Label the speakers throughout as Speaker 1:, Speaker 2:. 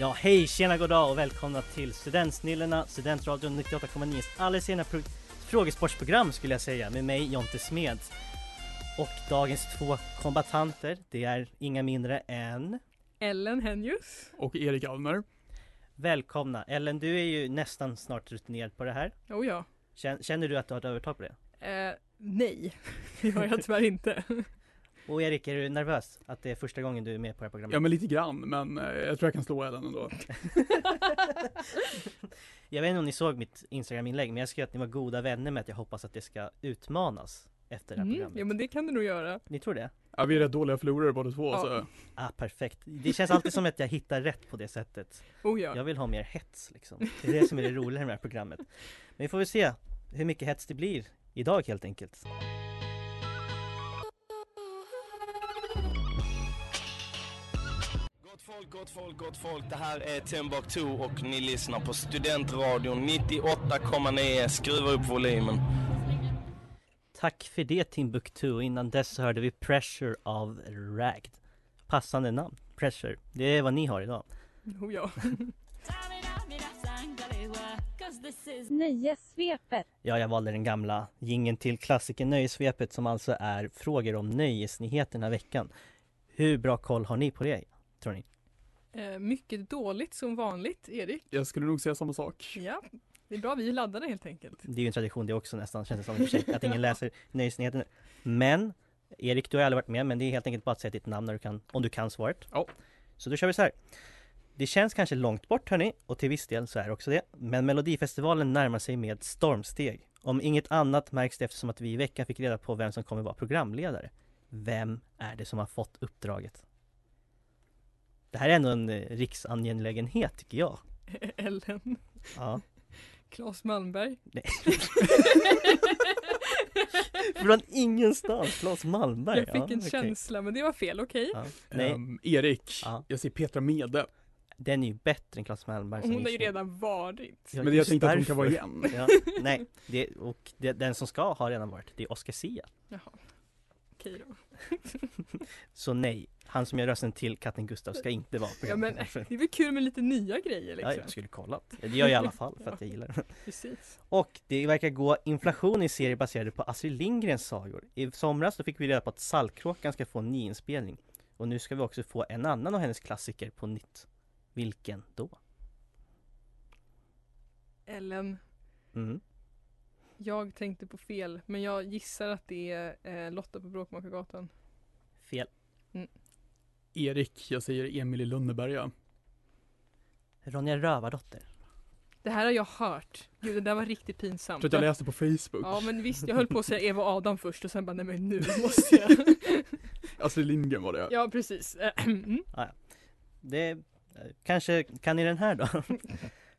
Speaker 1: Ja, hej, tjena, god dag och välkomna till Studentsnillena, Studentradion 98,9s alldeles egna pro- frågesportsprogram skulle jag säga med mig Jonte Smeds. Och dagens två kombatanter, det är inga mindre än
Speaker 2: Ellen Henjus.
Speaker 3: och Erik Almer.
Speaker 1: Välkomna! Ellen, du är ju nästan snart rutinerad på det här.
Speaker 2: Oh ja.
Speaker 1: Kän- Känner du att du har ett övertag på det?
Speaker 2: Eh, nej, det gör jag tyvärr inte.
Speaker 1: Och Erik, är du nervös att det är första gången du är med på det här programmet?
Speaker 3: Ja, men lite grann, men eh, jag tror jag kan slå Ellen ändå.
Speaker 1: Jag vet inte om ni såg mitt Instagram-inlägg, men jag skrev att ni var goda vänner med att jag hoppas att det ska utmanas efter det här
Speaker 2: Mm,
Speaker 1: programmet.
Speaker 2: ja men det kan du nog göra.
Speaker 1: Ni tror det?
Speaker 3: Ja, vi är rätt dåliga förlorare båda två,
Speaker 2: Ja.
Speaker 3: så
Speaker 1: Ah, perfekt. Det känns alltid som att jag hittar rätt på det sättet.
Speaker 2: Oh ja.
Speaker 1: Jag vill ha mer hets liksom. Det är det som är det roliga med det här programmet. Men vi får väl se hur mycket hets det blir idag helt enkelt.
Speaker 4: Gott folk, gott folk, gott folk. Det här är Timbuktu och ni lyssnar på Studentradion 98,9. Skruva upp volymen.
Speaker 1: Tack för det Timbuktu. Innan dess hörde vi Pressure av Ragged. Passande namn. Pressure. Det är vad ni har idag.
Speaker 2: Oh ja.
Speaker 5: Nöjesvepet.
Speaker 1: Ja, jag valde den gamla gingen till klassiken Nöjesvepet som alltså är frågor om nöjesnyheter den här veckan. Hur bra koll har ni på det, tror ni?
Speaker 2: Eh, mycket dåligt som vanligt, Erik.
Speaker 3: jag skulle nog säga samma sak.
Speaker 2: Ja, det är bra vi är laddade helt enkelt.
Speaker 1: Det är ju en tradition det också nästan, känns det som i och för sig, att ingen läser nöjesnyheterna. Men, Erik, du har aldrig varit med, men det är helt enkelt bara att säga ditt namn när du kan, om du kan svaret.
Speaker 3: Ja.
Speaker 1: Så då kör vi så här. Det känns kanske långt bort hörni, och till viss del så är det också det. Men Melodifestivalen närmar sig med stormsteg. Om inget annat märks det eftersom att vi i veckan fick reda på vem som kommer vara programledare. Vem är det som har fått uppdraget? Det här är ändå en eh, riksangelägenhet tycker jag.
Speaker 2: Ellen.
Speaker 1: Ja.
Speaker 2: Claes Malmberg.
Speaker 1: Nej. Från ingenstans, Claes Malmberg.
Speaker 2: Jag fick
Speaker 1: Ja,
Speaker 2: en
Speaker 1: okej.
Speaker 2: känsla men det var fel, okej.
Speaker 1: Ja. Nej,
Speaker 3: Ehm, Erik,
Speaker 1: Ja.
Speaker 3: jag säger Petra Mede,
Speaker 1: den är ju bättre än Claes Malmberg. som
Speaker 2: Hon har ju
Speaker 1: just nu.
Speaker 2: redan varit.
Speaker 1: Alltså, Ja,
Speaker 3: men jag
Speaker 1: just
Speaker 3: tänkte att hon kan
Speaker 1: därför.
Speaker 3: vara igen.
Speaker 1: Ja, nej, det, och det, den som ska ha redan varit, det är Oscar Sia.
Speaker 2: Jaha. Okej då.
Speaker 1: Så nej, han som gör rösten till katten Gustav ska inte vara
Speaker 2: Ja, men,
Speaker 1: programledare.
Speaker 2: det är väl kul med lite nya grejer
Speaker 1: Ja,
Speaker 2: liksom.
Speaker 1: jag skulle kollat. Det gör jag i alla fall för att jag gillar det.
Speaker 2: Precis.
Speaker 1: Och det verkar gå inflation i serier baserade på Astrid Lindgrens sagor. I somras då fick vi reda på att Saltkråkan ska få en nyinspelning. Och nu ska vi också få en annan av hennes klassiker på nytt. Vilken då?
Speaker 2: Ellen.
Speaker 1: Mm.
Speaker 2: Jag tänkte på fel, men jag gissar att det är eh, Lotta på Bråkmakargatan.
Speaker 1: Fel.
Speaker 3: Erik, jag säger Emil i Lönneberga.
Speaker 1: Ronja Rövardotter.
Speaker 2: Det här har jag hört. Gud, det där var riktigt pinsamt.
Speaker 3: Jag tror att jag läste på Facebook.
Speaker 2: Ja men visst, jag höll på att säga Eva och Adam först och sen bara nej men nu måste jag.
Speaker 3: Astrid Lindgren var det.
Speaker 2: Ja precis. Mm.
Speaker 1: Det eh, kanske, kan ni den här då?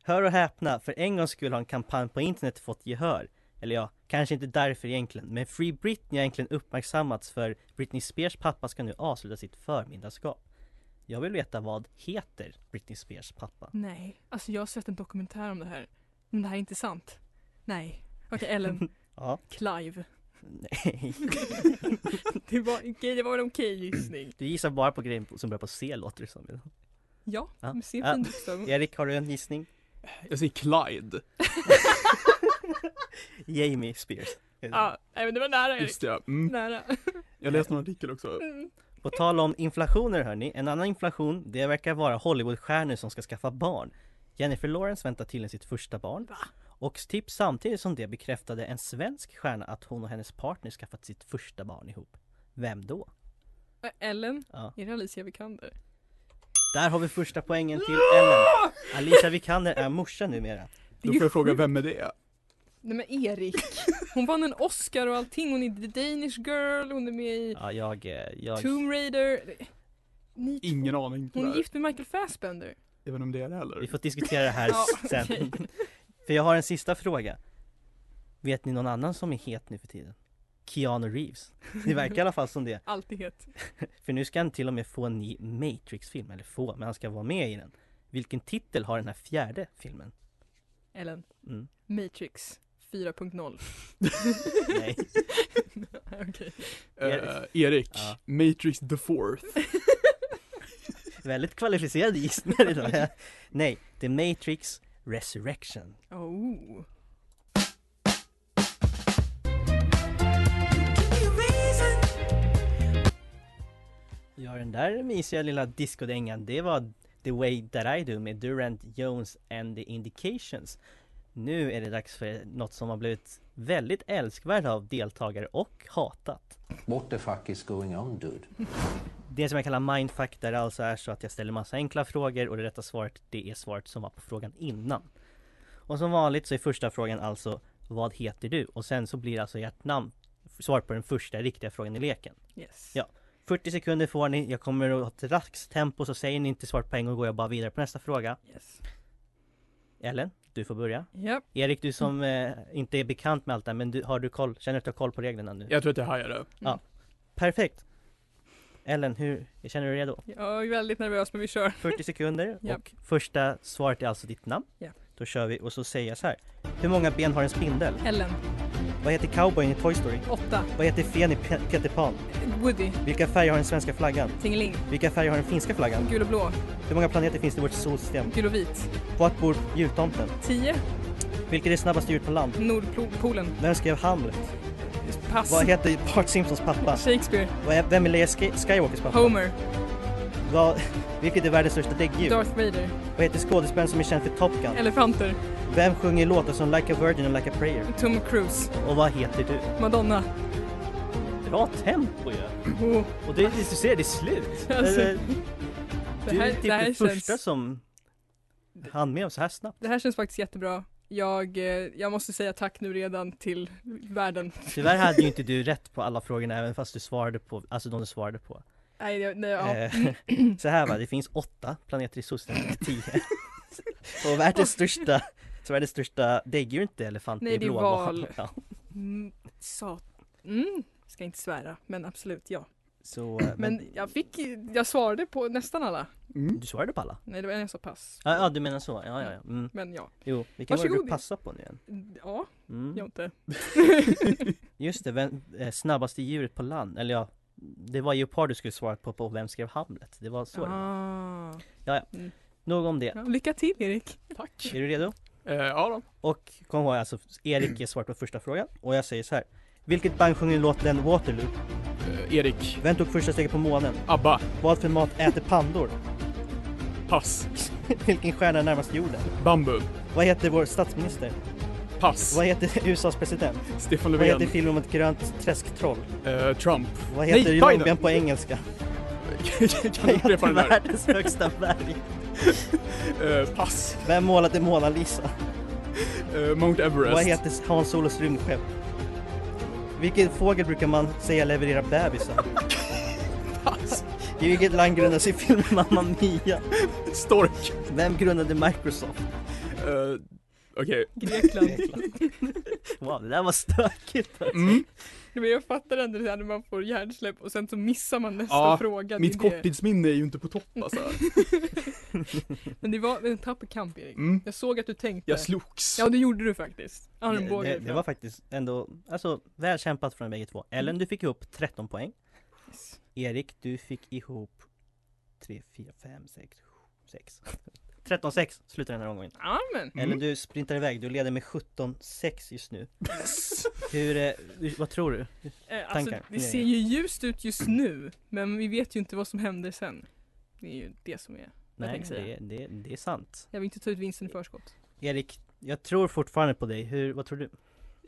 Speaker 1: Hör och häpna, för en gång skulle ha en kampanj på internet fått gehör. Eller ja, kanske inte därför egentligen, men Free Britney har egentligen uppmärksammats för Britney Spears pappa ska nu avsluta sitt förmiddagsskap. Jag vill veta vad heter Britney Spears pappa?
Speaker 2: Nej, alltså jag har sett en dokumentär om det här. Men det här är inte sant. Nej. Okej Ellen,
Speaker 1: Ja,
Speaker 2: Clive.
Speaker 1: nej.
Speaker 2: Det var, okej, det var en okej gissning.
Speaker 1: Du gissar bara på grejer som börjar på C låter det som.
Speaker 2: Ja,
Speaker 1: Ja.
Speaker 2: men se en
Speaker 1: Ja.
Speaker 2: fin bokstav.
Speaker 1: Erik, har du en gissning?
Speaker 3: Jag säger Clyde.
Speaker 1: Jamie Spears.
Speaker 2: Ja, nej men det var nära Erik.
Speaker 3: Just det, ja. mm.
Speaker 2: Nära.
Speaker 3: Jag läste en artikel också.
Speaker 1: På tal om inflationer hörni, en annan inflation, det verkar vara Hollywoodstjärnor som ska skaffa barn. Jennifer Lawrence väntar till sitt första barn. Och typ samtidigt som det bekräftade en svensk stjärna att hon och hennes partner skaffat sitt första barn ihop. Vem då?
Speaker 2: Äh, Ellen,
Speaker 1: Ja.
Speaker 2: är det Alicia Vikander?
Speaker 1: Där har vi första poängen till Ellen! Alicia Vikander är morsa numera.
Speaker 3: Då får jag fråga, vem är det?
Speaker 2: Nej men Erik! Hon vann en Oscar och allting, hon är The Danish Girl, hon är med i
Speaker 1: Ja, jag... eh, jag...
Speaker 2: Tomb Raider. Ni två.
Speaker 3: Ingen aning
Speaker 2: Hon är
Speaker 3: tyvärr.
Speaker 2: gift med Michael Fassbender.
Speaker 3: Jag vet inte om det är det
Speaker 1: Vi
Speaker 3: heller.
Speaker 1: får diskutera det här
Speaker 2: Ja,
Speaker 1: sen.
Speaker 2: okej.
Speaker 1: För jag har en sista fråga. Vet ni någon annan som är het nu för tiden? Keanu Reeves. Det verkar i alla fall som det.
Speaker 2: Alltid het.
Speaker 1: För nu ska han till och med få en ny Matrix-film. Eller få, men han ska vara med i den. Vilken titel har den här fjärde filmen?
Speaker 2: Ellen,
Speaker 1: Mm.
Speaker 2: Matrix 4.0.
Speaker 1: Nej.
Speaker 2: Okej.
Speaker 3: Eh, Erik,
Speaker 1: Ja.
Speaker 3: Matrix the fourth.
Speaker 1: Väldigt kvalificerad gissningar idag. Ja. Nej, The Matrix Resurrection.
Speaker 2: Oh.
Speaker 1: Ja, den där mysiga lilla discodängan, det var The Way That I Do med Durant Jones and the Indications. Nu är det dags för något som har blivit väldigt älskvärt av deltagare och hatat.
Speaker 5: What the fuck is going on dude?
Speaker 1: Det som jag kallar mindfuck där det alltså är så att jag ställer massa enkla frågor och det rätta svaret det är svaret som var på frågan innan. Och som vanligt så är första frågan alltså Vad heter du? Och sen så blir det alltså ert namn svar på den första riktiga frågan i leken.
Speaker 2: Yes.
Speaker 1: Ja. 40 sekunder får ni, jag kommer att ha ett raskt tempo så säger ni inte svaret på en gång går jag bara vidare på nästa fråga.
Speaker 2: Yes.
Speaker 1: Ellen, du får börja.
Speaker 2: Japp.
Speaker 1: Erik, du som eh, inte är bekant med allt det här men du, har du koll, känner att du har koll på reglerna nu?
Speaker 3: Jag tror att jag hajar det.
Speaker 1: Perfekt! Ellen, hur, känner du dig redo?
Speaker 2: Jag är väldigt nervös men vi kör.
Speaker 1: 40 sekunder
Speaker 2: Ja.
Speaker 1: och första svaret är alltså ditt namn.
Speaker 2: Ja.
Speaker 1: Då kör vi och så säger jag så här. Hur många ben har en spindel?
Speaker 2: Ellen,
Speaker 1: Vad heter cowboyn i Toy Story?
Speaker 2: 8.
Speaker 1: Vad heter fen i Pe- Peter Pan?
Speaker 2: Woody,
Speaker 1: Vilka färger har den svenska flaggan?
Speaker 2: Tingeling,
Speaker 1: Vilka färger har den finska flaggan?
Speaker 2: Gul och blå,
Speaker 1: Hur många planeter finns det i vårt solsystem?
Speaker 2: Gul och vit.
Speaker 1: Vart bor jultomten?
Speaker 2: 10.
Speaker 1: Vilket är det snabbaste djuret på land?
Speaker 2: Nordpolen.
Speaker 1: Vem skrev Hamlet?
Speaker 2: Pass.
Speaker 1: Vad heter Bart Simpsons pappa?
Speaker 2: Shakespeare,
Speaker 1: Vad är- Vem är Leia Sk- Skywalkers pappa?
Speaker 2: Homer,
Speaker 1: Vad, vilket är världens största däggdjur?
Speaker 2: Darth Vader,
Speaker 1: Vad heter skådespelaren som är känd för Top Gun?
Speaker 2: Elefanter,
Speaker 1: Vem sjunger låtar som Like a Virgin och Like a Prayer?
Speaker 2: Tom Cruise,
Speaker 1: Och vad heter du?
Speaker 2: Madonna.
Speaker 1: Bra tempo ju!
Speaker 2: Oh,
Speaker 1: Och det, du ser, det är slut!
Speaker 2: Alltså,
Speaker 1: Eller,
Speaker 2: det,
Speaker 1: du är
Speaker 2: här,
Speaker 1: typ
Speaker 2: det, här
Speaker 1: den första
Speaker 2: känns,
Speaker 1: som hann med så här snabbt.
Speaker 2: det här känns faktiskt jättebra. Jag, eh, jag måste säga tack nu redan till världen.
Speaker 1: Tyvärr hade ju inte du rätt på alla frågorna även fast du svarade på, alltså de du svarade på.
Speaker 2: Nej, jag- nej, ja.
Speaker 1: Eh, så här va, det finns åtta planeter i solsystemet, tio. Och världens största, så världens största däggdjur är inte elefant,
Speaker 2: Nej, det är
Speaker 1: blåval.
Speaker 2: val.
Speaker 1: Ja.
Speaker 2: Mm, så, mm, ska inte svära, men absolut ja.
Speaker 1: Så, eh, men,
Speaker 2: Men jag fick, ju- jag svarade på nästan alla.
Speaker 3: Mm.
Speaker 1: du svarade på alla?
Speaker 2: Nej, det var en jag sa pass.
Speaker 1: Ja, ja du menar så, ja ja ja. Mm.
Speaker 2: Men ja,
Speaker 1: Jo, vilken var det du
Speaker 2: Varsågod.
Speaker 1: passade på nu igen?
Speaker 2: ja,
Speaker 1: Mm.
Speaker 2: jag inte.
Speaker 1: Just det, vem, eh, snabbaste djuret på land, eller ja Det var Leopard du skulle svara på, på vem skrev Hamlet? Det var så det var.
Speaker 2: Ah.
Speaker 1: Nog om det.
Speaker 2: Ja, lycka till Erik!
Speaker 3: Tack.
Speaker 1: Är du redo?
Speaker 3: Eh, ja då.
Speaker 1: Och kom ihåg alltså, Erik ger svar på första frågan och jag säger så här. Vilket band sjunger låten Waterloo?
Speaker 3: Eh, Erik,
Speaker 1: Vem tog första steget på månen?
Speaker 3: ABBA,
Speaker 1: Vad för mat äter pandor?
Speaker 3: pass.
Speaker 1: Vilken stjärna är närmast jorden?
Speaker 3: Bambu,
Speaker 1: Vad heter vår statsminister?
Speaker 3: pass.
Speaker 1: Vad heter USAs president?
Speaker 3: Stefan
Speaker 1: Vad heter
Speaker 3: Löfven,
Speaker 1: filmen om ett grönt träsktroll?
Speaker 3: eh, Trump.
Speaker 1: Vad
Speaker 3: Nej,
Speaker 1: heter
Speaker 3: Biden!
Speaker 1: långben på engelska?
Speaker 3: kan
Speaker 1: Vad
Speaker 3: du upprepa
Speaker 1: heter
Speaker 3: den där?
Speaker 1: världens högsta berg?
Speaker 3: Eh, pass.
Speaker 1: Vem målade Mona Lisa?
Speaker 3: Eh, Mount Everest.
Speaker 1: Vad heter Hans Solos rymdskepp? Vilken fågel brukar man säga levererar bebisar?
Speaker 3: Pass.
Speaker 1: I vilket land grundades i filmen Mamma Mia?
Speaker 3: Stork.
Speaker 1: Vem grundade Microsoft?
Speaker 3: Eh, Okej.
Speaker 2: Grekland.
Speaker 1: Wow, det där var stökigt!
Speaker 3: Mm.
Speaker 2: Men jag fattar ändå det här när man får hjärnsläpp och sen så missar man nästa
Speaker 3: Ja,
Speaker 2: fråga. det är
Speaker 3: Mitt
Speaker 2: det.
Speaker 3: korttidsminne är ju inte på topp alltså.
Speaker 2: Men det var en tapper kamp Erik.
Speaker 3: Mm.
Speaker 2: Jag såg att du tänkte.
Speaker 3: Jag slogs.
Speaker 2: Ja det gjorde du faktiskt.
Speaker 1: Det,
Speaker 2: Armbåge
Speaker 1: det, det var faktiskt ändå, alltså väl kämpat från bägge två. Ellen, du fick ihop 13 poäng. Erik, du fick ihop 3, 4, 5, 6, 6. 13-6 slutar den här omgången.
Speaker 2: Ja men.
Speaker 1: Ellen, du sprintar iväg, du leder med 17-6 just nu. Hur, eh, hur- vad tror du?
Speaker 2: Eh, alltså,
Speaker 1: Tankar?
Speaker 2: det ser ju ljust ut just nu. Men vi vet ju inte vad som händer sen. Det är ju det som är.
Speaker 1: Nej,
Speaker 2: tänkte
Speaker 1: det,
Speaker 2: säga.
Speaker 1: det, det är sant.
Speaker 2: Jag vill inte ta ut vinsten i förskott.
Speaker 1: Erik, Jag tror fortfarande på dig. Hur, vad tror du?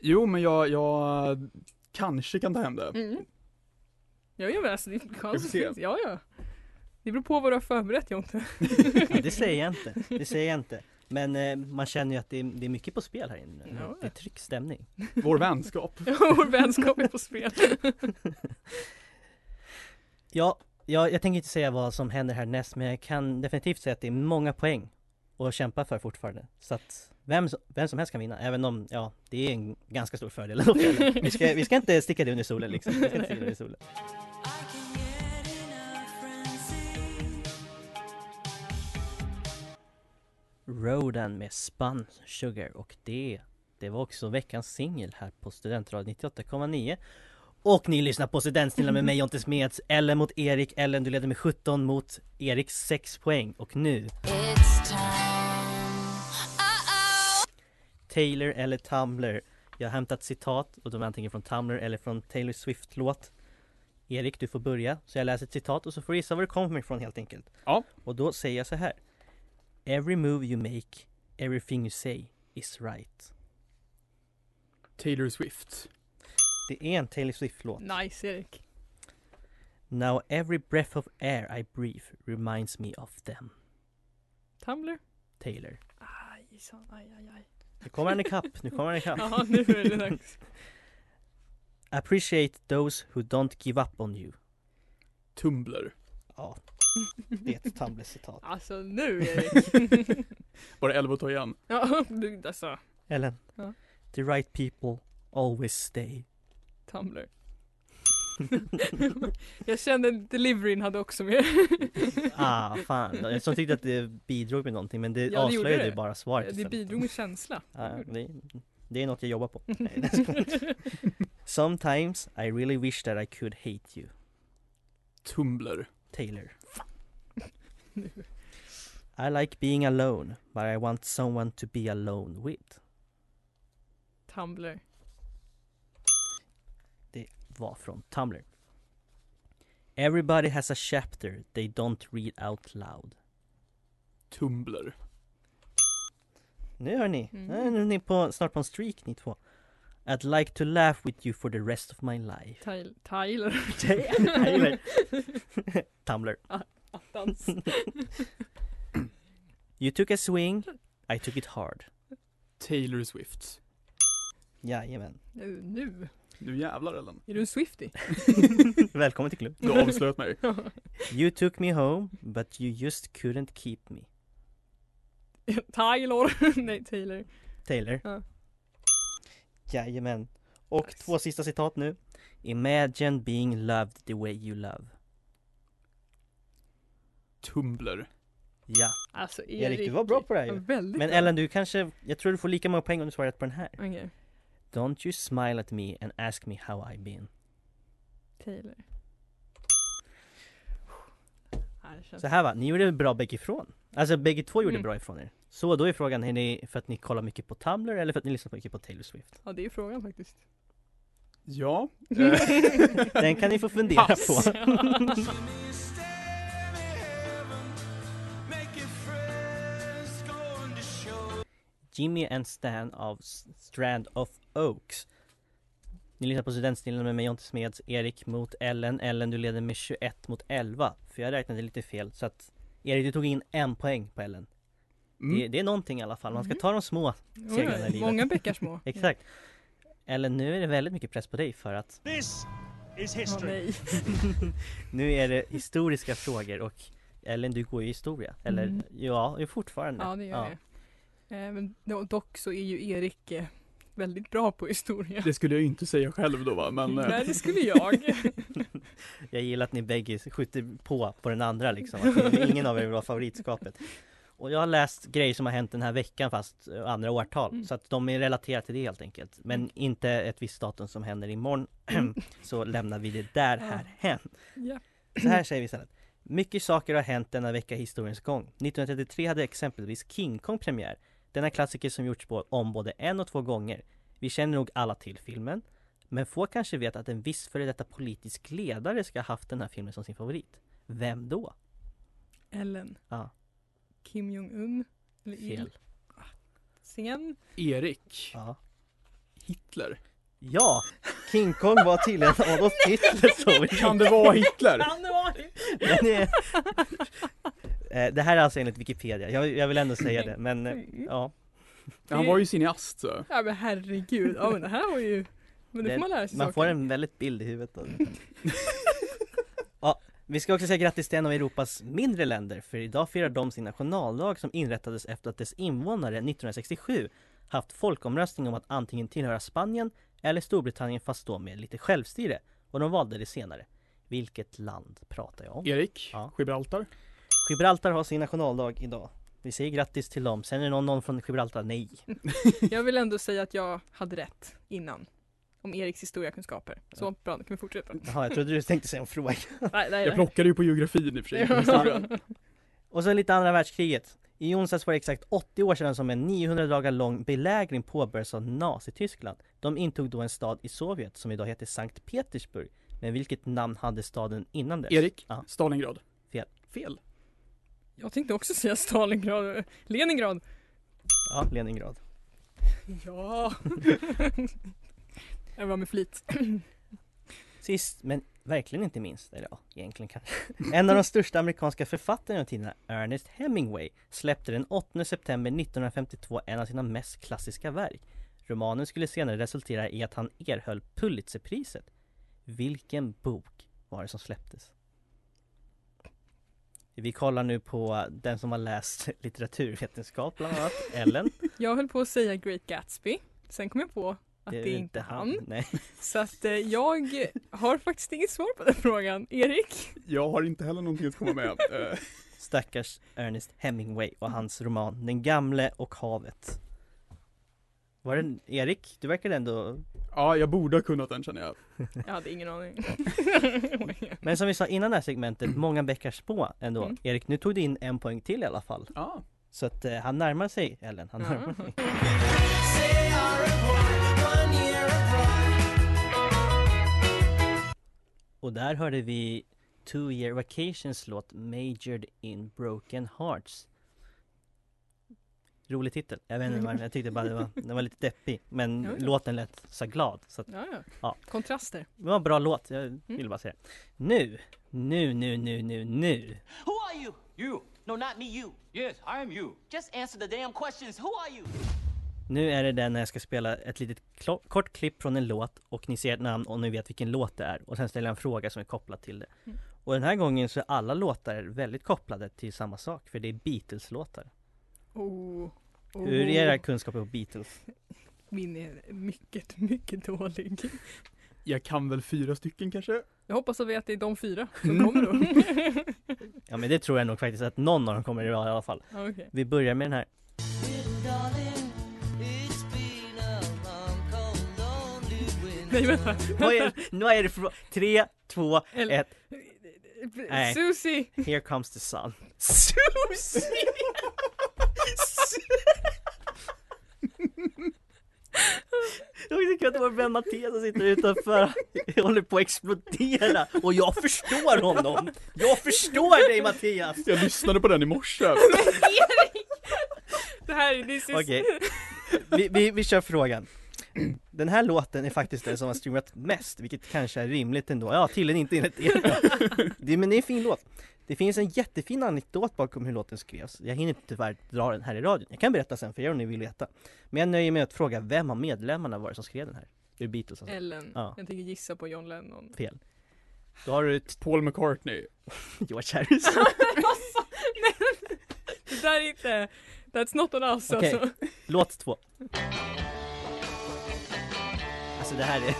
Speaker 3: Jo, men jag, jag kanske kan ta hem det.
Speaker 2: Mm. Ja, ja, men alltså det
Speaker 3: Vi får
Speaker 2: chansen
Speaker 3: se.
Speaker 2: finns. Ja, ja. Det beror på vad du har förberett Jonte.
Speaker 1: Ja, det säger jag inte. Det säger jag inte. Men eh, man känner ju att det är, det är mycket på spel här inne. nu.
Speaker 2: Ja.
Speaker 1: Det är tryckt stämning.
Speaker 3: Vår vänskap.
Speaker 2: Ja, Vår vänskap är på spel.
Speaker 1: Ja, jag, jag tänker inte säga vad som händer härnäst, men jag kan definitivt säga att det är många poäng att kämpa för fortfarande. Så att vem, som- vem som helst kan vinna, även om, ja, det är en ganska stor fördel. vi, ska, vi ska inte sticka det under solen liksom. Vi ska inte sticka det under solen. Rodan med Spun Sugar och det, det var också veckans singel här på Studentradion 98,9 och ni lyssnar på Studentsnillan med mig Jonte Smeds, Ellen mot Erik, Ellen du leder med 17 mot Erik 6 poäng och nu Taylor eller Tumblr Jag har hämtat citat och de är antingen från Tumblr eller från Taylor Swift-låt Erik du får börja, så jag läser ett citat och så får du gissa var det kommer ifrån helt enkelt
Speaker 3: Ja.
Speaker 1: Och då säger jag så här Every move you make, everything you say is right
Speaker 3: Taylor Swift.
Speaker 1: Det är en Taylor Swift-låt
Speaker 2: nice Erik.
Speaker 1: Now every breath of air I breathe reminds me of them,
Speaker 2: Tumblr.
Speaker 1: Taylor.
Speaker 2: Aj, så, aj, aj, aj.
Speaker 1: Nu kommer han ikapp, nu kommer han ikapp.
Speaker 2: Ja, nu är det dags.
Speaker 1: Appreciate those who don't give up on you.
Speaker 3: Tumblr.
Speaker 1: Ja, det är ett Tumblr-citat.
Speaker 2: Alltså nu Erik.
Speaker 3: Bara 11 att ta igen.
Speaker 2: ja, du, alltså.
Speaker 1: Ellen,
Speaker 2: Ja.
Speaker 1: the right people always stay.
Speaker 2: Tumblr. jag kände att deliveryn hade också med.
Speaker 1: Ah, fan. Jag som tyckte att det bidrog med någonting men det
Speaker 2: Ja, det gjorde
Speaker 1: avslöjade
Speaker 2: det.
Speaker 1: ju bara svaret
Speaker 2: det
Speaker 1: istället.
Speaker 2: bidrog med känsla.
Speaker 1: Ja, det, det är något jag jobbar på. Nej, jag skojar. Sometimes I really wish that I could hate you.
Speaker 3: Tumblr.
Speaker 1: Taylor. I like being alone, but I want someone to be alone with.
Speaker 2: Tumblr.
Speaker 1: Var från Tumblr. Everybody has a chapter they don't read out loud.
Speaker 3: Tumblr.
Speaker 1: Nu hör ni,
Speaker 2: Mm.
Speaker 1: nu är ni på, snart på en streak ni två. I'd like to laugh with you for the rest of my life.
Speaker 2: Tyler. Tyler.
Speaker 1: Taylor. Tumblr.
Speaker 2: Attans.
Speaker 1: You took a swing, I took it hard.
Speaker 3: Taylor Swift.
Speaker 1: Jajamän.
Speaker 2: Nu, nu.
Speaker 3: Nu jävlar Ellen.
Speaker 2: Är du en Swiftie?
Speaker 1: Välkommen till klubben.
Speaker 3: Du har avslöjat mig.
Speaker 1: You took me home, but you just couldn't keep me.
Speaker 2: Tyler. Nej, Taylor.
Speaker 1: Taylor.
Speaker 2: Ja.
Speaker 1: Jajamän. Och
Speaker 2: Nice.
Speaker 1: två sista citat nu. Imagine being loved the way you love.
Speaker 3: Tumblr.
Speaker 1: Ja.
Speaker 2: Alltså
Speaker 1: Erik, du var bra på det här ju.
Speaker 2: Väldigt
Speaker 1: Men
Speaker 2: bra.
Speaker 1: Ellen, du kanske, jag tror du får lika många poäng om du svarar rätt på den här.
Speaker 2: Okej,
Speaker 1: Don't you smile at me and ask me how I been.
Speaker 2: Taylor. Ja, det känns...
Speaker 1: Så här va, ni gjorde bra bägge ifrån. Alltså bägge två gjorde
Speaker 2: Mm.
Speaker 1: bra ifrån er. Så då är frågan, är ni för att ni kollar mycket på Tumblr eller för att ni lyssnar mycket på Taylor Swift?
Speaker 2: Ja, det är frågan faktiskt.
Speaker 3: Ja. Eh,
Speaker 1: Den kan ni få fundera
Speaker 2: Pass.
Speaker 1: på. Jimmy and Stan av S- Strand of Oaks. Ni lyssnar på Studentstilen med mig Jonte Smeds, Erik mot Ellen. Ellen du leder med 21 mot 11. För jag räknade lite fel så att Erik du tog in en poäng på Ellen. Det,
Speaker 3: mm.
Speaker 1: det är någonting i alla fall, man ska
Speaker 2: Mm.
Speaker 1: ta de små.
Speaker 2: Oj,
Speaker 1: Seglarna i
Speaker 2: oj,
Speaker 1: livet.
Speaker 2: Många bäckar små.
Speaker 1: Exakt. Ellen nu är det väldigt mycket press på dig för att
Speaker 2: Åh, nej.
Speaker 1: nu är det historiska frågor och Ellen du går ju i historia. Eller
Speaker 2: Mm.
Speaker 1: ja, ju fortfarande.
Speaker 2: Ja, det gör det. Eh, men do- dock så är ju Erik eh, väldigt bra på historia.
Speaker 3: Det skulle jag ju inte säga själv då va, men eh,
Speaker 2: Nej, det skulle jag.
Speaker 1: Jag gillar att ni bägge skjuter på på den andra liksom, att det- ingen av er var favoritskapet Och jag har läst grejer som har hänt den här veckan fast eh, andra årtal
Speaker 2: Mm.
Speaker 1: så att de är relaterade till det helt enkelt Men inte ett visst datum som händer imorgon Så lämnar vi det där
Speaker 2: Mm. Ja.
Speaker 1: här hem
Speaker 2: Ja.
Speaker 1: Så här säger vi istället Mycket saker har hänt denna vecka i historiens gång 1933 hade exempelvis King Kong premiär Denna klassiker som gjorts på- om både en och två gånger Vi känner nog alla till filmen men få kanske vet att en viss före detta politisk ledare ska ha haft den här filmen som sin favorit. Vem då?
Speaker 2: Ellen.
Speaker 1: Ja.
Speaker 2: Kim Jong-Un. Eller Il.
Speaker 1: Fel.
Speaker 6: Singen.
Speaker 3: Erik
Speaker 1: Ja.
Speaker 3: Hitler.
Speaker 1: Ja, King Kong var tydligen Adolf Hitler sorry.
Speaker 3: Kan det vara Hitler?
Speaker 6: Kan det vara det?
Speaker 1: Den är... Eh, Det här är alltså enligt Wikipedia, jag, jag vill ändå säga det men eh, ja
Speaker 3: Han var ju cineast så.
Speaker 6: Ja men herregud, ja men det här var ju... Men det
Speaker 1: Det-
Speaker 6: får man lära sig
Speaker 1: Man
Speaker 6: saker.
Speaker 1: får en väldigt bild i huvudet av det. ja, Vi ska också säga grattis till en av Europas mindre länder för idag firar de sin nationaldag som inrättades efter att dess invånare 1967 haft folkomröstning om att antingen tillhöra Spanien eller Storbritannien fast då med lite självstyre och de valde det senare. Vilket land pratar jag om?
Speaker 3: Erik,
Speaker 1: Ja.
Speaker 3: Gibraltar.
Speaker 1: Gibraltar har sin nationaldag idag. Vi säger grattis till dem. Sen är det någon, någon från Gibraltar, nej.
Speaker 2: Jag vill ändå säga att jag hade rätt innan. Om Eriks historiakunskaper. Så bra, då kan vi fortsätta.
Speaker 1: Jaha, jag trodde du tänkte säga en fråga.
Speaker 2: Nej, nej,
Speaker 3: Jag plockade ju på geografin i och för sig.
Speaker 2: Ja.
Speaker 3: på historien.
Speaker 1: Och så lite andra världskriget. I onsdags var det exakt 80 år sedan som en 900 dagar lång belägring påbörjades av Nazityskland. De intog då en stad i Sovjet som idag heter Sankt Petersburg. Men vilket namn hade staden innan dess?
Speaker 3: Erik,
Speaker 1: Ja.
Speaker 3: Stalingrad.
Speaker 1: Fel.
Speaker 3: Fel.
Speaker 6: Jag tänkte också säga Stalingrad, Leningrad.
Speaker 1: Ja, Leningrad.
Speaker 6: Ja.
Speaker 2: Jag var med flit.
Speaker 1: Sist, men verkligen inte minst, eller ja, egentligen kanske. En av de största amerikanska författarna genom tiderna, Ernest Hemingway, släppte den 8 september 1952 en av sina mest klassiska verk. Romanen skulle senare resultera i att han erhöll Pulitzerpriset. Vilken bok var det som släpptes? Vi kollar nu på den som har läst litteraturvetenskap bland annat, Ellen.
Speaker 2: Jag höll på att säga Great Gatsby. Sen kom jag på att det,
Speaker 1: är
Speaker 2: är inte han.
Speaker 1: Nej.
Speaker 2: Så att eh, jag har faktiskt inget svar på den frågan. Erik?
Speaker 3: Jag har inte heller någonting att komma med. Eh,
Speaker 1: Stackars Ernest Hemingway och hans roman Den gamle och havet Var det Erik? Du verkar ändå
Speaker 3: ja, jag borde ha kunnat den känner jag.
Speaker 2: Jag hade ingen aning.
Speaker 1: Men som vi sa innan det här segmentet, många bäckar små ändå
Speaker 2: Mm.
Speaker 1: Erik, nu tog du in en poäng till i alla fall
Speaker 3: Ja.
Speaker 1: Så att eh, han närmar sig Ellen, han
Speaker 2: Ja.
Speaker 1: närmar sig Och där hörde vi Two Year Vacations låt Majored in Broken Hearts Rolig titel, jag vet inte vad den- jag tyckte bara det var, den var lite deppig Men
Speaker 2: Ja, ja.
Speaker 1: låten lät så glad så att
Speaker 2: Ja, ja.
Speaker 1: Ja.
Speaker 2: Kontraster.
Speaker 1: det var en bra låt, jag
Speaker 2: Mm.
Speaker 1: ville bara säga det. Nu, nu, nu, nu, nu, nu
Speaker 7: Who are you? You. No, not me, you. Yes, I am you. Just answer the damn questions. Who are you?
Speaker 1: Nu är det den när jag ska spela ett litet klo- kort klipp från en låt och ni ser ett namn och ni vet vilken låt det är och sen ställer jag en fråga som är kopplad till det.
Speaker 2: Mm.
Speaker 1: Och den här gången så är alla låtar väldigt kopplade till samma sak för det är Beatles-låtar.
Speaker 2: Oh. Oh.
Speaker 1: Hur är era kunskaper på Beatles?
Speaker 2: Min är mycket, mycket dålig.
Speaker 3: Jag kan väl fyra stycken kanske?
Speaker 2: Jag hoppas att vi att det är de fyra som kommer då.
Speaker 1: Ja men det tror jag nog faktiskt att någon av dem kommer att vara i alla fall.
Speaker 2: ja, okej.
Speaker 1: Vi börjar med den här.
Speaker 2: Nej vänta.
Speaker 1: Vad är, nu är det från... Tre, två,
Speaker 2: Eller-
Speaker 1: ett. Nej.
Speaker 2: Susie!
Speaker 1: Here comes the sun.
Speaker 2: Susie!
Speaker 1: Jag tycker inte att det var Ben Mattias som sitter utanför Jag håller på att explodera och jag förstår honom! Jag förstår dig Mattias!
Speaker 3: Jag lyssnade på den i morse.
Speaker 2: det här är this is...
Speaker 1: Okej, vi, vi, vi kör frågan Den här låten är faktiskt den som har streamat mest, vilket kanske är rimligt ändå Ja, tydligen inte enligt er det, Men det är en fin låt Det finns en jättefin anekdot bakom hur låten skrevs Jag hinner tyvärr dra den här i radion Jag kan berätta sen för er om ni vill veta Men jag nöjer mig med att fråga, vem av medlemmarna var det som skrev den här? Ur Beatles alltså.
Speaker 2: Ellen.
Speaker 1: Ja.
Speaker 2: Jag tänker gissa på John Lennon.
Speaker 1: Fel Då har du ett
Speaker 3: Paul McCartney.
Speaker 1: George Harrison
Speaker 2: Alltså, Det där är inte... That's not on us
Speaker 1: Okej.
Speaker 2: alltså.
Speaker 1: Låt två. Alltså det här är...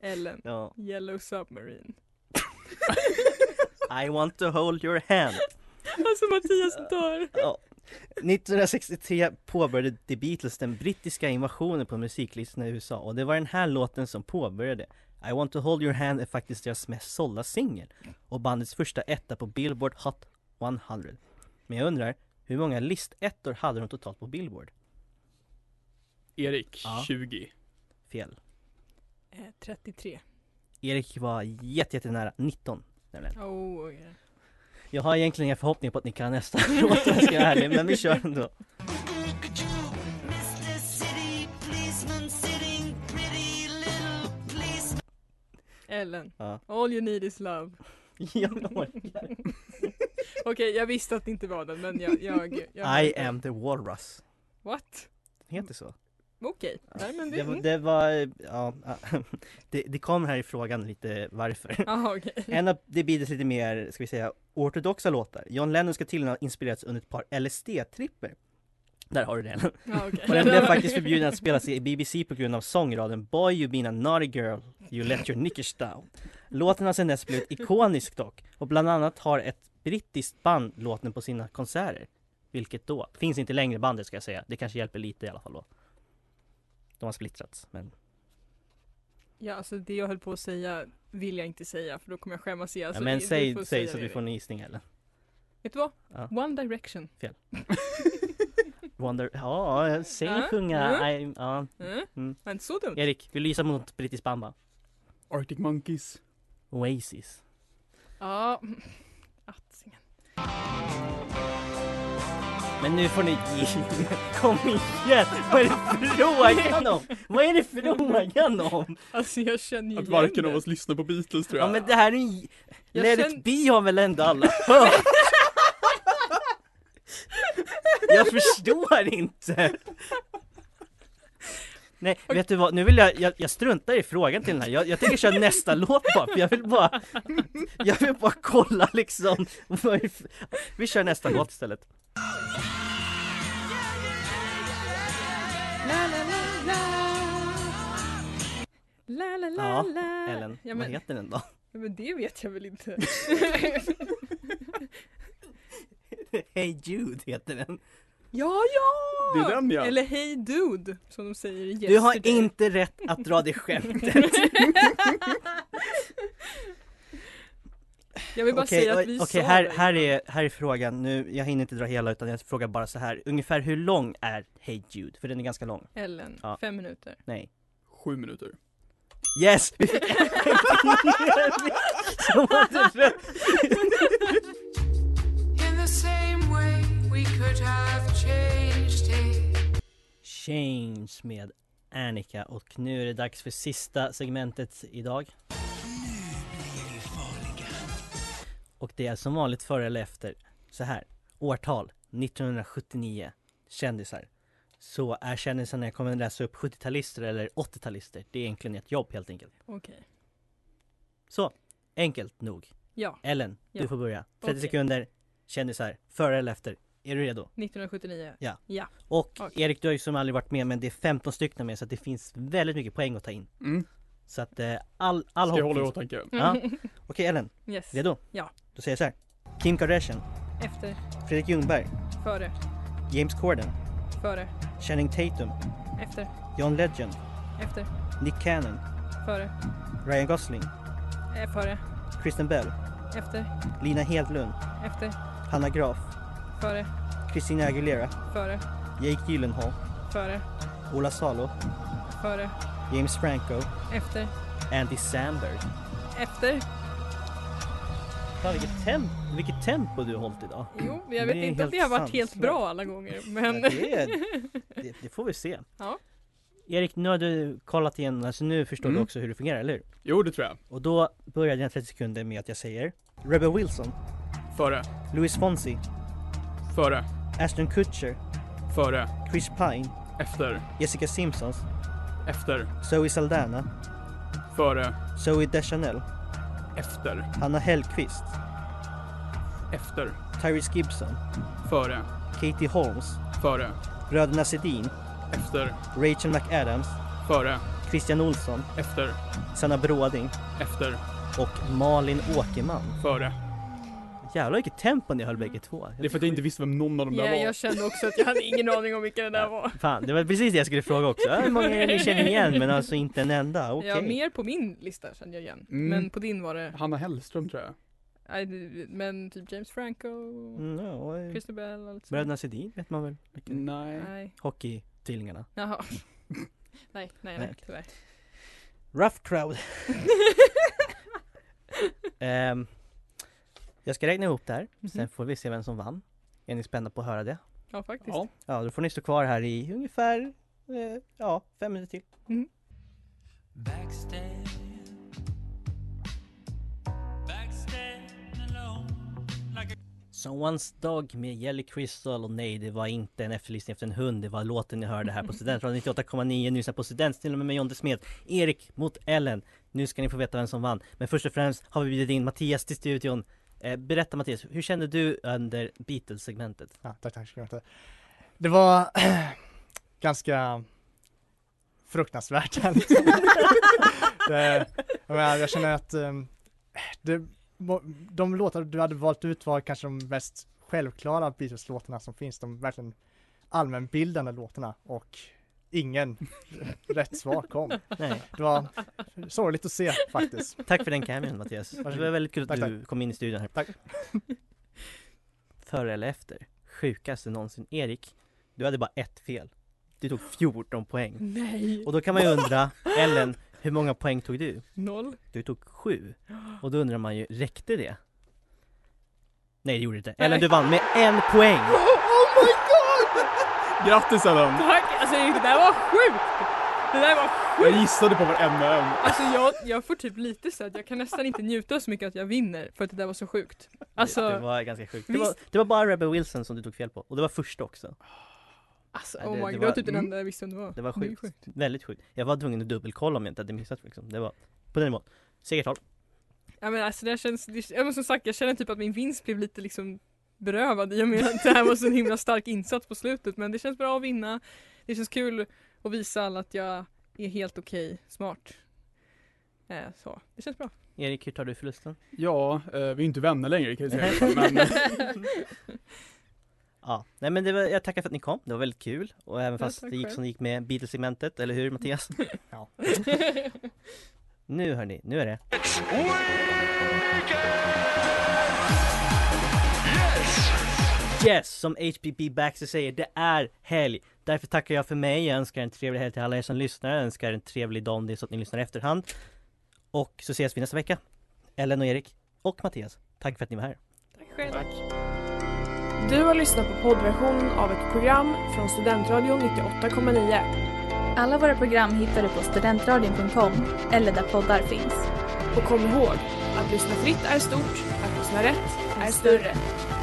Speaker 2: Ellen.
Speaker 1: Ja.
Speaker 2: Yellow Submarine.
Speaker 1: I want to hold your hand.
Speaker 2: Alltså Mattias dör.
Speaker 1: Ja. 1963 påbörjade The Beatles den brittiska invasionen på musiklistorna i USA och det var den här låten som påbörjade. I want to hold your hand är faktiskt deras mest sålda singel och bandets första etta på Billboard Hot 100. Men jag undrar, hur många listettor hade de totalt på Billboard?
Speaker 3: Erik,
Speaker 1: Ja.
Speaker 3: 20.
Speaker 1: Fel.
Speaker 2: Eh, 33.
Speaker 1: Erik var jätte, jättenära, 19 nämligen.
Speaker 2: Oh, okej.
Speaker 1: Jag har egentligen inga förhoppningar på att ni kan nästa låt om jag ska vara ärlig, men vi kör ändå.
Speaker 2: Ellen,
Speaker 1: Ja.
Speaker 2: all you need is love.
Speaker 1: Jag orkar.
Speaker 2: Okej, jag visste att det inte var den men jag... jag, jag
Speaker 1: I am the walrus.
Speaker 2: What?
Speaker 1: Heter det så?
Speaker 2: Okej, nej men
Speaker 1: Det var,
Speaker 2: det... mm.
Speaker 1: det var ja, det, det kom här i frågan lite varför.
Speaker 2: Jaha okej.
Speaker 1: En av det Beatles lite mer, ska vi säga, ortodoxa låtar. John Lennon ska tydligen ha inspirerats under ett par LSD-tripper. Där har du den.
Speaker 2: Ja, okej.
Speaker 1: Och den blev faktiskt förbjuden att spelas i BBC på grund av sångraden Boy you been a naughty girl, you let your knickers down. Låten har sedan dess blivit ikonisk dock, och bland annat har ett brittiskt band låten på sina konserter. Vilket då? Finns inte längre bandet ska jag säga, det kanske hjälper lite i alla fall då. De har splittrats, men
Speaker 2: Ja alltså det jag höll på att säga vill jag inte säga för då kommer jag skämmas igen.
Speaker 1: Ja,
Speaker 2: så
Speaker 1: men
Speaker 2: det- du
Speaker 1: säg,
Speaker 2: Alltså, får
Speaker 1: säg
Speaker 2: säga
Speaker 1: så att
Speaker 2: det
Speaker 1: vi får
Speaker 2: du-
Speaker 1: en gissning eller?
Speaker 2: Vet du vad?
Speaker 1: Ja.
Speaker 2: One Direction.
Speaker 1: Wonder, ja, säg
Speaker 2: Ja,
Speaker 1: sjunga,
Speaker 2: ja.
Speaker 1: I, ja.
Speaker 2: Mm.
Speaker 1: Mm.
Speaker 2: Var inte så dumt.
Speaker 1: Erik, vill du gissa mot brittiskt band va?
Speaker 3: Arctic Monkeys.
Speaker 1: Oasis.
Speaker 2: Ja. Attingen.
Speaker 1: Men nu får ni Kom igen! Vad är det frågan om? Vad är det frågan om?
Speaker 2: Alltså jag känner ju
Speaker 3: Att varken
Speaker 2: igen
Speaker 3: av
Speaker 2: den.
Speaker 3: oss lyssnar på Beatles tror
Speaker 1: Ja
Speaker 3: jag.
Speaker 1: men det här är ju...
Speaker 2: Jag
Speaker 1: Let
Speaker 2: känn-
Speaker 1: it be har väl ändå alla hört? Jag förstår inte! Nej, vet du vad? Nu vill jag, jag, jag struntar i frågan till den här. Jag, jag tänker köra nästa låt bara, för jag vill bara... Jag vill bara kolla liksom vad det är för- Vi kör nästa låt istället.
Speaker 2: La la la
Speaker 1: Ja,
Speaker 2: la.
Speaker 1: Ellen,
Speaker 2: ja,
Speaker 1: vad
Speaker 2: men,
Speaker 1: heter den då?
Speaker 2: ja, men det vet jag väl inte.
Speaker 1: Hey Jude heter den.
Speaker 2: ja ja!
Speaker 3: Det är den, ja.
Speaker 2: Eller Hey Dude som de säger i
Speaker 1: Du har
Speaker 2: Yesterday.
Speaker 1: inte rätt att dra det skämtet.
Speaker 2: Jag vill bara
Speaker 1: Okej,
Speaker 2: säga att
Speaker 1: oj,
Speaker 2: vi
Speaker 1: okej,
Speaker 2: sa
Speaker 1: här,
Speaker 2: det.
Speaker 1: här, är, här är frågan. Nu, jag hinner inte dra hela utan jag frågar bara så här. Ungefär hur lång är Hey Jude? För den är ganska lång.
Speaker 2: Ellen,
Speaker 1: Ja.
Speaker 2: fem minuter.
Speaker 1: Nej.
Speaker 3: Sju minuter.
Speaker 1: Yes! Vi fick Som hade rätt. Change med Annika och nu är det dags för sista segmentet idag. Och det är som vanligt före eller efter. Så här, årtal 1979, kändisar. Så är kändisarna jag kommer läsa upp 70-talister eller 80-talister. Det är egentligen ett jobb helt enkelt.
Speaker 2: Okej.
Speaker 1: Så, enkelt nog.
Speaker 2: Ja,
Speaker 1: Ellen,
Speaker 2: Ja.
Speaker 1: du får börja. 30
Speaker 2: Okej.
Speaker 1: sekunder, kändisar, före eller efter. Är du redo?
Speaker 2: 1979.
Speaker 1: Och
Speaker 2: Okej.
Speaker 1: Erik, du har ju som aldrig varit med men det är 15 stycken med så att det finns väldigt mycket poäng att ta in.
Speaker 3: Mm.
Speaker 1: Så att eh, all, all
Speaker 3: Ska jag hålla i
Speaker 1: finns-
Speaker 3: åtanke?
Speaker 1: Ja. Okej Ellen,
Speaker 2: Yes.
Speaker 1: redo?
Speaker 2: Ja.
Speaker 1: Då säger jag så här. Kim Kardashian,
Speaker 2: Efter,
Speaker 1: Fredrik Ljungberg,
Speaker 2: före,
Speaker 1: James Corden,
Speaker 2: före,
Speaker 1: Channing Tatum,
Speaker 2: efter,
Speaker 1: John Legend,
Speaker 2: efter,
Speaker 1: Nick Cannon,
Speaker 2: före,
Speaker 1: Ryan Gosling,
Speaker 2: eh, före,
Speaker 1: Kristen Bell,
Speaker 2: efter,
Speaker 1: Lina Hedlund,
Speaker 2: efter,
Speaker 1: Hanna Graf,
Speaker 2: före,
Speaker 1: Christina Aguilera,
Speaker 2: före,
Speaker 1: Jake Gyllenhaal,
Speaker 2: före,
Speaker 1: Ola Salo,
Speaker 2: före,
Speaker 1: James Franco,
Speaker 2: efter,
Speaker 1: Andy Samberg.
Speaker 2: efter.
Speaker 1: Fan vilket, temp vilket tempo du har hållit idag.
Speaker 2: Jo, jag
Speaker 1: Det
Speaker 2: vet
Speaker 1: är
Speaker 2: inte om det har
Speaker 1: helt
Speaker 2: varit helt
Speaker 1: sanslöst.
Speaker 2: bra alla gånger men...
Speaker 1: Ja, det, är, det, det får vi se.
Speaker 2: Ja.
Speaker 1: Erik, nu har du kollat igen, alltså nu förstår du
Speaker 3: Mm.
Speaker 1: också hur det fungerar, eller hur?
Speaker 3: Jo, det tror jag.
Speaker 1: Och då börjar dina 30 sekunder med att jag säger Rebel Wilson,
Speaker 3: Före,
Speaker 1: Louis Fonsi,
Speaker 3: före,
Speaker 1: Ashton Kutcher,
Speaker 3: före,
Speaker 1: Chris Pine,
Speaker 3: efter,
Speaker 1: Jessica Simpsons,
Speaker 3: efter,
Speaker 1: Zoe Saldana,
Speaker 3: före,
Speaker 1: Zoe Deschanel,
Speaker 3: efter,
Speaker 1: Hanna Hellquist,
Speaker 3: efter,
Speaker 1: Tyrese Gibson,
Speaker 3: före,
Speaker 1: Katie Holmes,
Speaker 3: före,
Speaker 1: Bröderna Sedin,
Speaker 3: efter,
Speaker 1: Rachel McAdams,
Speaker 3: före,
Speaker 1: Christian Olsson,
Speaker 3: efter,
Speaker 1: Sanna Bråding
Speaker 3: efter,
Speaker 1: och Malin Åkerman.
Speaker 3: före.
Speaker 1: Jävlar vilket tempo ni höll bägge två.
Speaker 3: Det är för att jag inte visste vem någon av dem
Speaker 2: Ja,
Speaker 3: där var.
Speaker 2: jag kände också att jag hade ingen aning om vilka det där var.
Speaker 1: Fan, det var precis det jag skulle fråga också. Ja, Hur många är det ni känner igen men alltså inte en enda? Okej.
Speaker 2: Ja, mer på min lista kände jag igen.
Speaker 3: Mm.
Speaker 2: Men på din var det...
Speaker 3: Hanna Hellström tror jag.
Speaker 2: Nej, det- Men typ James Franco,
Speaker 1: Mm, ja, och, eh,
Speaker 2: Christer Bell och allt sånt.
Speaker 1: Bröderna Sedin vet man väl?
Speaker 3: Nej.
Speaker 2: Nej.
Speaker 1: Hockeytvillingarna.
Speaker 2: Jaha. nej, nej,
Speaker 1: Nej,
Speaker 2: nej,
Speaker 1: okej.
Speaker 2: tyvärr.
Speaker 1: Rough crowd. Ehm, Jag ska räkna ihop det här,
Speaker 2: Mhm.
Speaker 1: sen får vi se vem som vann. Är ni spända på att höra det?
Speaker 2: Ja, faktiskt.
Speaker 3: Ja.
Speaker 1: Ja, då får ni stå kvar här i ungefär, eh, ja, fem minuter till.
Speaker 7: Backstab. Backstab alone.
Speaker 1: Someones Dog med Jelly Crystal och nej det var inte en efterlysning efter en hund Det var låten ni hörde här på Studentradion 98,9 Nu lyssnar på Studentsnillen med Jonte Smed Erik mot Ellen Nu ska ni få veta vem som vann Men först och främst har vi bjudit in Mattias till studion eh, Berätta Mattias, hur kände du under Beatles-segmentet?
Speaker 8: Ja, tack, tack. ska jag ta. Det var ganska fruktansvärt. liksom. det, jag, menar, jag känner att um, det, de låtar du hade valt ut var kanske de mest självklara Beatles-låtarna som finns. De verkligen allmänbildande låtarna och ingen rätt svar kom.
Speaker 1: Nej.
Speaker 8: Det var sorgligt att se faktiskt.
Speaker 1: Tack för den cameon Mattias Det var
Speaker 8: Varsågod.
Speaker 1: väldigt kul
Speaker 8: Tack,
Speaker 1: att du kom in i studion här
Speaker 8: Tack.
Speaker 1: Före eller efter? Sjukaste någonsin Erik Du hade bara ett fel Du tog 14 poäng
Speaker 2: Nej!
Speaker 1: Och då kan man ju undra, Ellen, hur många poäng tog du?
Speaker 2: Noll. Oh,
Speaker 1: Du tog sju. Och då undrar man ju, räckte det? Nej det gjorde det inte. Ellen du vann med en poäng!
Speaker 2: Oh my god!
Speaker 3: Grattis Ellen!
Speaker 2: Tack! Alltså det där var sjukt! Det där var
Speaker 3: Jag gissade på varenda en.
Speaker 2: Alltså jag, jag får typ lite så att jag kan nästan inte njuta så mycket att jag vinner för att det där var så sjukt. Alltså,
Speaker 1: Det var ganska sjukt. Det var,
Speaker 2: Visst.
Speaker 1: det var bara Rebel Wilson som du tog fel på. Och det var första också.
Speaker 2: alltså
Speaker 1: Ja,
Speaker 2: oh my
Speaker 1: det- det
Speaker 2: god, det
Speaker 1: var-
Speaker 2: var typ den
Speaker 1: mm.
Speaker 2: enda jag visste om det var.
Speaker 1: Det var
Speaker 2: är
Speaker 1: sjukt. Väldigt sjukt. Jag var tvungen att dubbelkolla om jag inte hade missat liksom. Det var på den nivån. Segertal.
Speaker 2: Ja men alltså det känns, det, ja, men som sagt jag känner typ att min vinst blev lite liksom berövad i och med att det här var så en himla stark insats på slutet. Men det känns bra att vinna. Det känns kul att visa alla att jag är helt okej smart. Eh, så, det känns bra.
Speaker 1: Erik, hur tar du förlusten?
Speaker 3: Ja, eh, vi är ju inte vänner längre kan jag säga. Men eh,
Speaker 1: Ja, nej men det var, jag tackar för att ni kom. Det var väldigt kul. Och även
Speaker 2: Ja,
Speaker 1: fast
Speaker 2: tack
Speaker 1: det gick
Speaker 2: själv.
Speaker 1: som det gick med Beatles-segmentet, eller hur Mattias?
Speaker 8: Ja.
Speaker 1: nu hörni, nu är det Yes! Som HPP Baxter säger, det är helg! Därför tackar jag för mig, jag önskar en trevlig helg till alla er som lyssnar, jag önskar en trevlig dag om det är så att ni lyssnar i efterhand. Och så ses vi nästa vecka! Ellen och Erik, och Mattias, tack för att ni var här!
Speaker 9: Du har lyssnat på poddversionen av ett program från Studentradion 98,9.
Speaker 10: Alla våra program hittar du på studentradion.com eller där poddar finns.
Speaker 9: Och kom ihåg, att lyssna fritt är stort, att lyssna rätt är större.